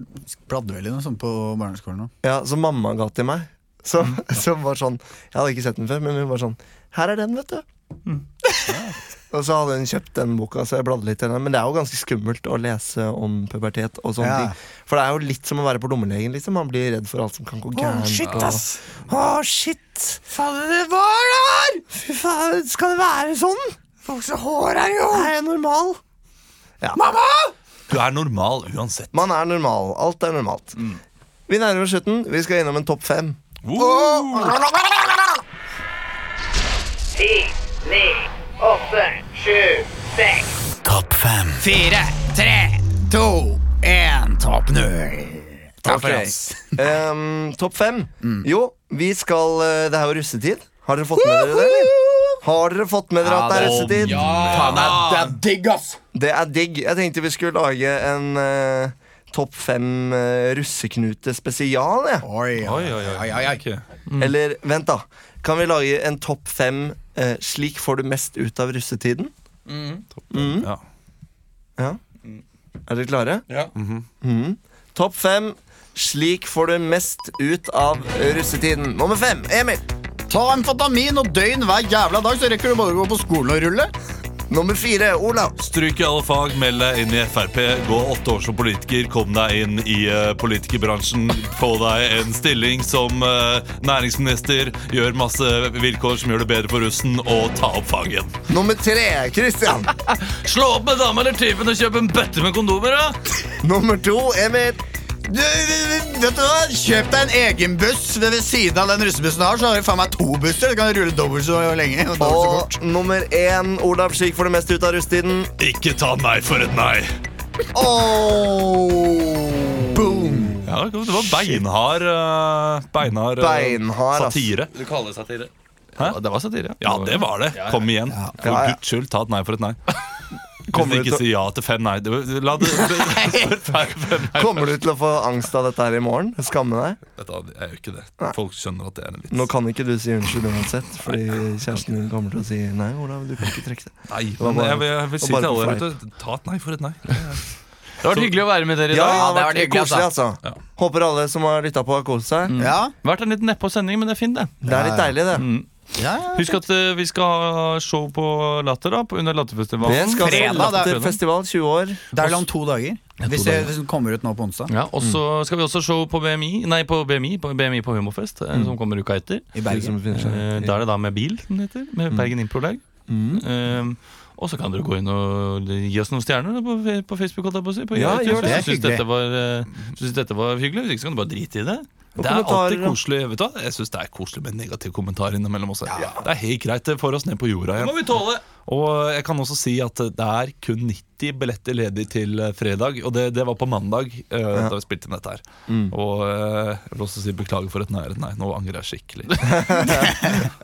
S10: bladde vel i noe sånt på barneskolen òg.
S1: Ja, Som mamma ga til meg. Så,
S2: Mm.
S1: *laughs* som var sånn Jeg hadde ikke sett den før, men hun var sånn Her er den, vet du.
S2: Mm.
S1: *laughs* og så hadde hun kjøpt den boka, så jeg bladde litt i den. Men det er jo ganske skummelt å lese om pubertet og sånne
S10: Ja.
S1: ting. For det er jo litt som å være på lommelegen, liksom. Man blir redd for alt som kan gå gærent. Å, shit, ass! Å, shit! Fader, det var det her! Fy faen, skal det være sånn? Vokse hår her, jo! Er jeg normal?
S4: Du er normal uansett. Mm.
S1: Man er normal. Alt er normalt. Vi nærmer oss slutten. Vi skal innom en topp fem.
S11: Ti, ni, åtte, sju, seks.
S10: Topp fem. Fire, tre, to, én. Topp null. Takk for
S1: Ok.
S10: oss.
S1: *laughs*
S10: Mm.
S1: Ehm, topp fem. Jo, vi skal eh, Det er jo russetid. Har dere fått med dere det? eller? Har dere fått med dere at det er russetid?
S10: det er digg, ass!
S1: Det er digg. Jeg tenkte vi skulle lage en eh, topp fem eh, russeknute-spesial. jeg.
S10: Oi, oi, oi. oi, oi, oi.
S1: Mm. Eller vent, da. Kan vi lage en topp fem eh, 'Slik får du mest ut av russetiden'?
S10: Mm.
S1: Mm.
S4: Ja.
S1: Er dere klare?
S5: Ja.
S1: Mhm. Topp fem. Slik får du mest ut av russetiden. Nummer fem. Emil.
S10: Ta amfetamin og døgn hver jævla dag, så rekker du både å gå på skolen og rulle.
S1: Nummer fire. Olav.
S4: Stryk i alle fag, meld deg inn i Frp, gå åtte år som politiker, kom deg inn i eh, politikerbransjen, få deg en stilling som eh, næringsminister, gjør masse vilkår som gjør det bedre for russen, og ta opp fagen.
S1: Nummer tre. Christian.
S5: Slå opp med dama eller typen og kjøp en bøtte med kondomer, da!
S1: Nummer to. Emil.
S10: Du, vet du hva? Kjøp deg en egen buss ved, ved siden av den russebussen du har. Så har du faen meg to busser. Du kan rulle dobbelt så lenge. Og dobbelt så
S1: Og
S10: kort.
S1: nummer én. Olav. Slik får du mest ut av russetiden.
S4: Ikke ta nei for et nei.
S10: Boom!
S4: Ja, det var beinhard, eh, beinhard, eh,
S1: Beinhard, ass.
S4: satire.
S5: Du kaller det satire?
S4: Hæ?
S2: Ja, det var satire.
S4: Ja, det var det. Kom igjen. For
S1: Ja, ja.
S4: guds skyld, ta et nei
S1: *laughs*
S4: for et nei. Hvis
S1: Kommer
S4: du
S1: du
S4: ikke
S1: til-
S4: sier ja til fem nei det- La
S1: *laughs*
S4: det fem nei.
S1: Kommer du til å få angst av dette her i morgen? Skamme deg?
S4: Vet du hva, Jeg gjør ikke det. Folk skjønner at det er en vits.
S1: Nå kan ikke du si unnskyld uansett, fordi kjæresten din kommer til å si nei, Olav. Du kan ikke trekke det.
S4: Nei,
S1: var
S4: men
S1: bare-
S4: jeg vil, jeg vil
S1: det
S4: si
S1: var
S4: til
S1: bare
S4: alle vet du, Ta et nei for et nei.
S2: Det har vært hyggelig å være med dere i
S1: Ja,
S2: dag.
S1: det har vært koselig, altså. Håper alle som har lytta på, har kost seg.
S2: Mm.
S10: Ja,
S2: Vært en litt nedpå sending, men det er fint, det.
S1: Det er litt deilig, det.
S5: Mm.
S10: ja.
S2: Husk at eh, vi skal ha show på Latter da, på- under Latterfestivalen.
S1: Det skal
S10: Fredag, det er
S1: til festival 20 år.
S10: Det er vel om to dager. Mm. Hvis, det, hvis den kommer ut nå på onsdag.
S2: Ja, og så skal vi også show på BMI Nei, på BMI på, BMI på Humorfest, eh, som kommer uka etter.
S10: Mm. I Bergen. Mm.
S2: Eh, Da er det da med bil, som det heter. Med Bergen Improlag. Eh, og så kan dere gå inn og eh, gi oss noen stjerner da, på, fe- på Facebook. holdt jeg på å si På
S1: Ja,
S2: YouTube,
S1: gjør det.
S2: hvis du Syns dette, var, eh, hvis du syns dette var hyggelig? Hvis ikke, så kan du bare drite i det.
S4: Det er alltid
S1: kommentarer, da.
S4: koselig. vet du hva? Jeg synes det er koselig med negativ kommentar innimellom også. Det er helt greit. Det får oss ned på jorda igjen.
S5: Må vi tåle?
S4: Og jeg kan også si at det er kun 90 billetter ledig til eh, fredag. Og det, det var på mandag eh, da vi spilte inn dette her.
S1: Mm.
S4: Og eh, jeg vil også si beklager for et nei. Nei, nå angrer jeg skikkelig.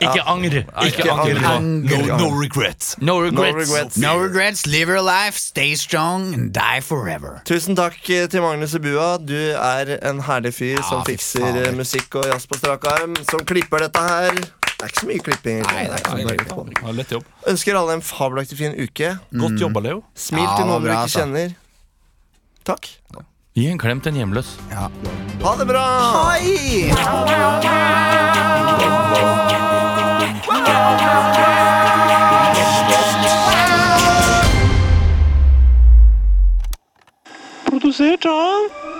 S5: Ikke angr. Ikke angr.
S1: angre.
S4: No, no regrets.
S5: No
S1: No
S5: regrets.
S1: regrets.
S10: No regrets, live your life, stay strong and die forever.
S1: Tusen takk eh, til Magnus Ibua. Du er en herlig fyr som
S10: fy
S1: fikser eh,
S10: faen.
S1: musikk og jazz på strak arm. Som klipper dette her. Det er ikke så mye klipping.
S4: Nei, det er ikke så mye
S1: Bare
S4: klipping.
S1: litt på.
S4: Lett jobb.
S1: Ønsker alle en fabelaktig fin uke.
S4: Godt jobba, Leo.
S1: Smil
S4: Mm. Ja,
S1: til
S4: det var
S1: noen dere
S4: bra,
S1: ikke
S4: altså.
S1: kjenner. Takk.
S2: Gi en klem til en hjemløs.
S1: Ha det bra! Hei!
S11: Produsert av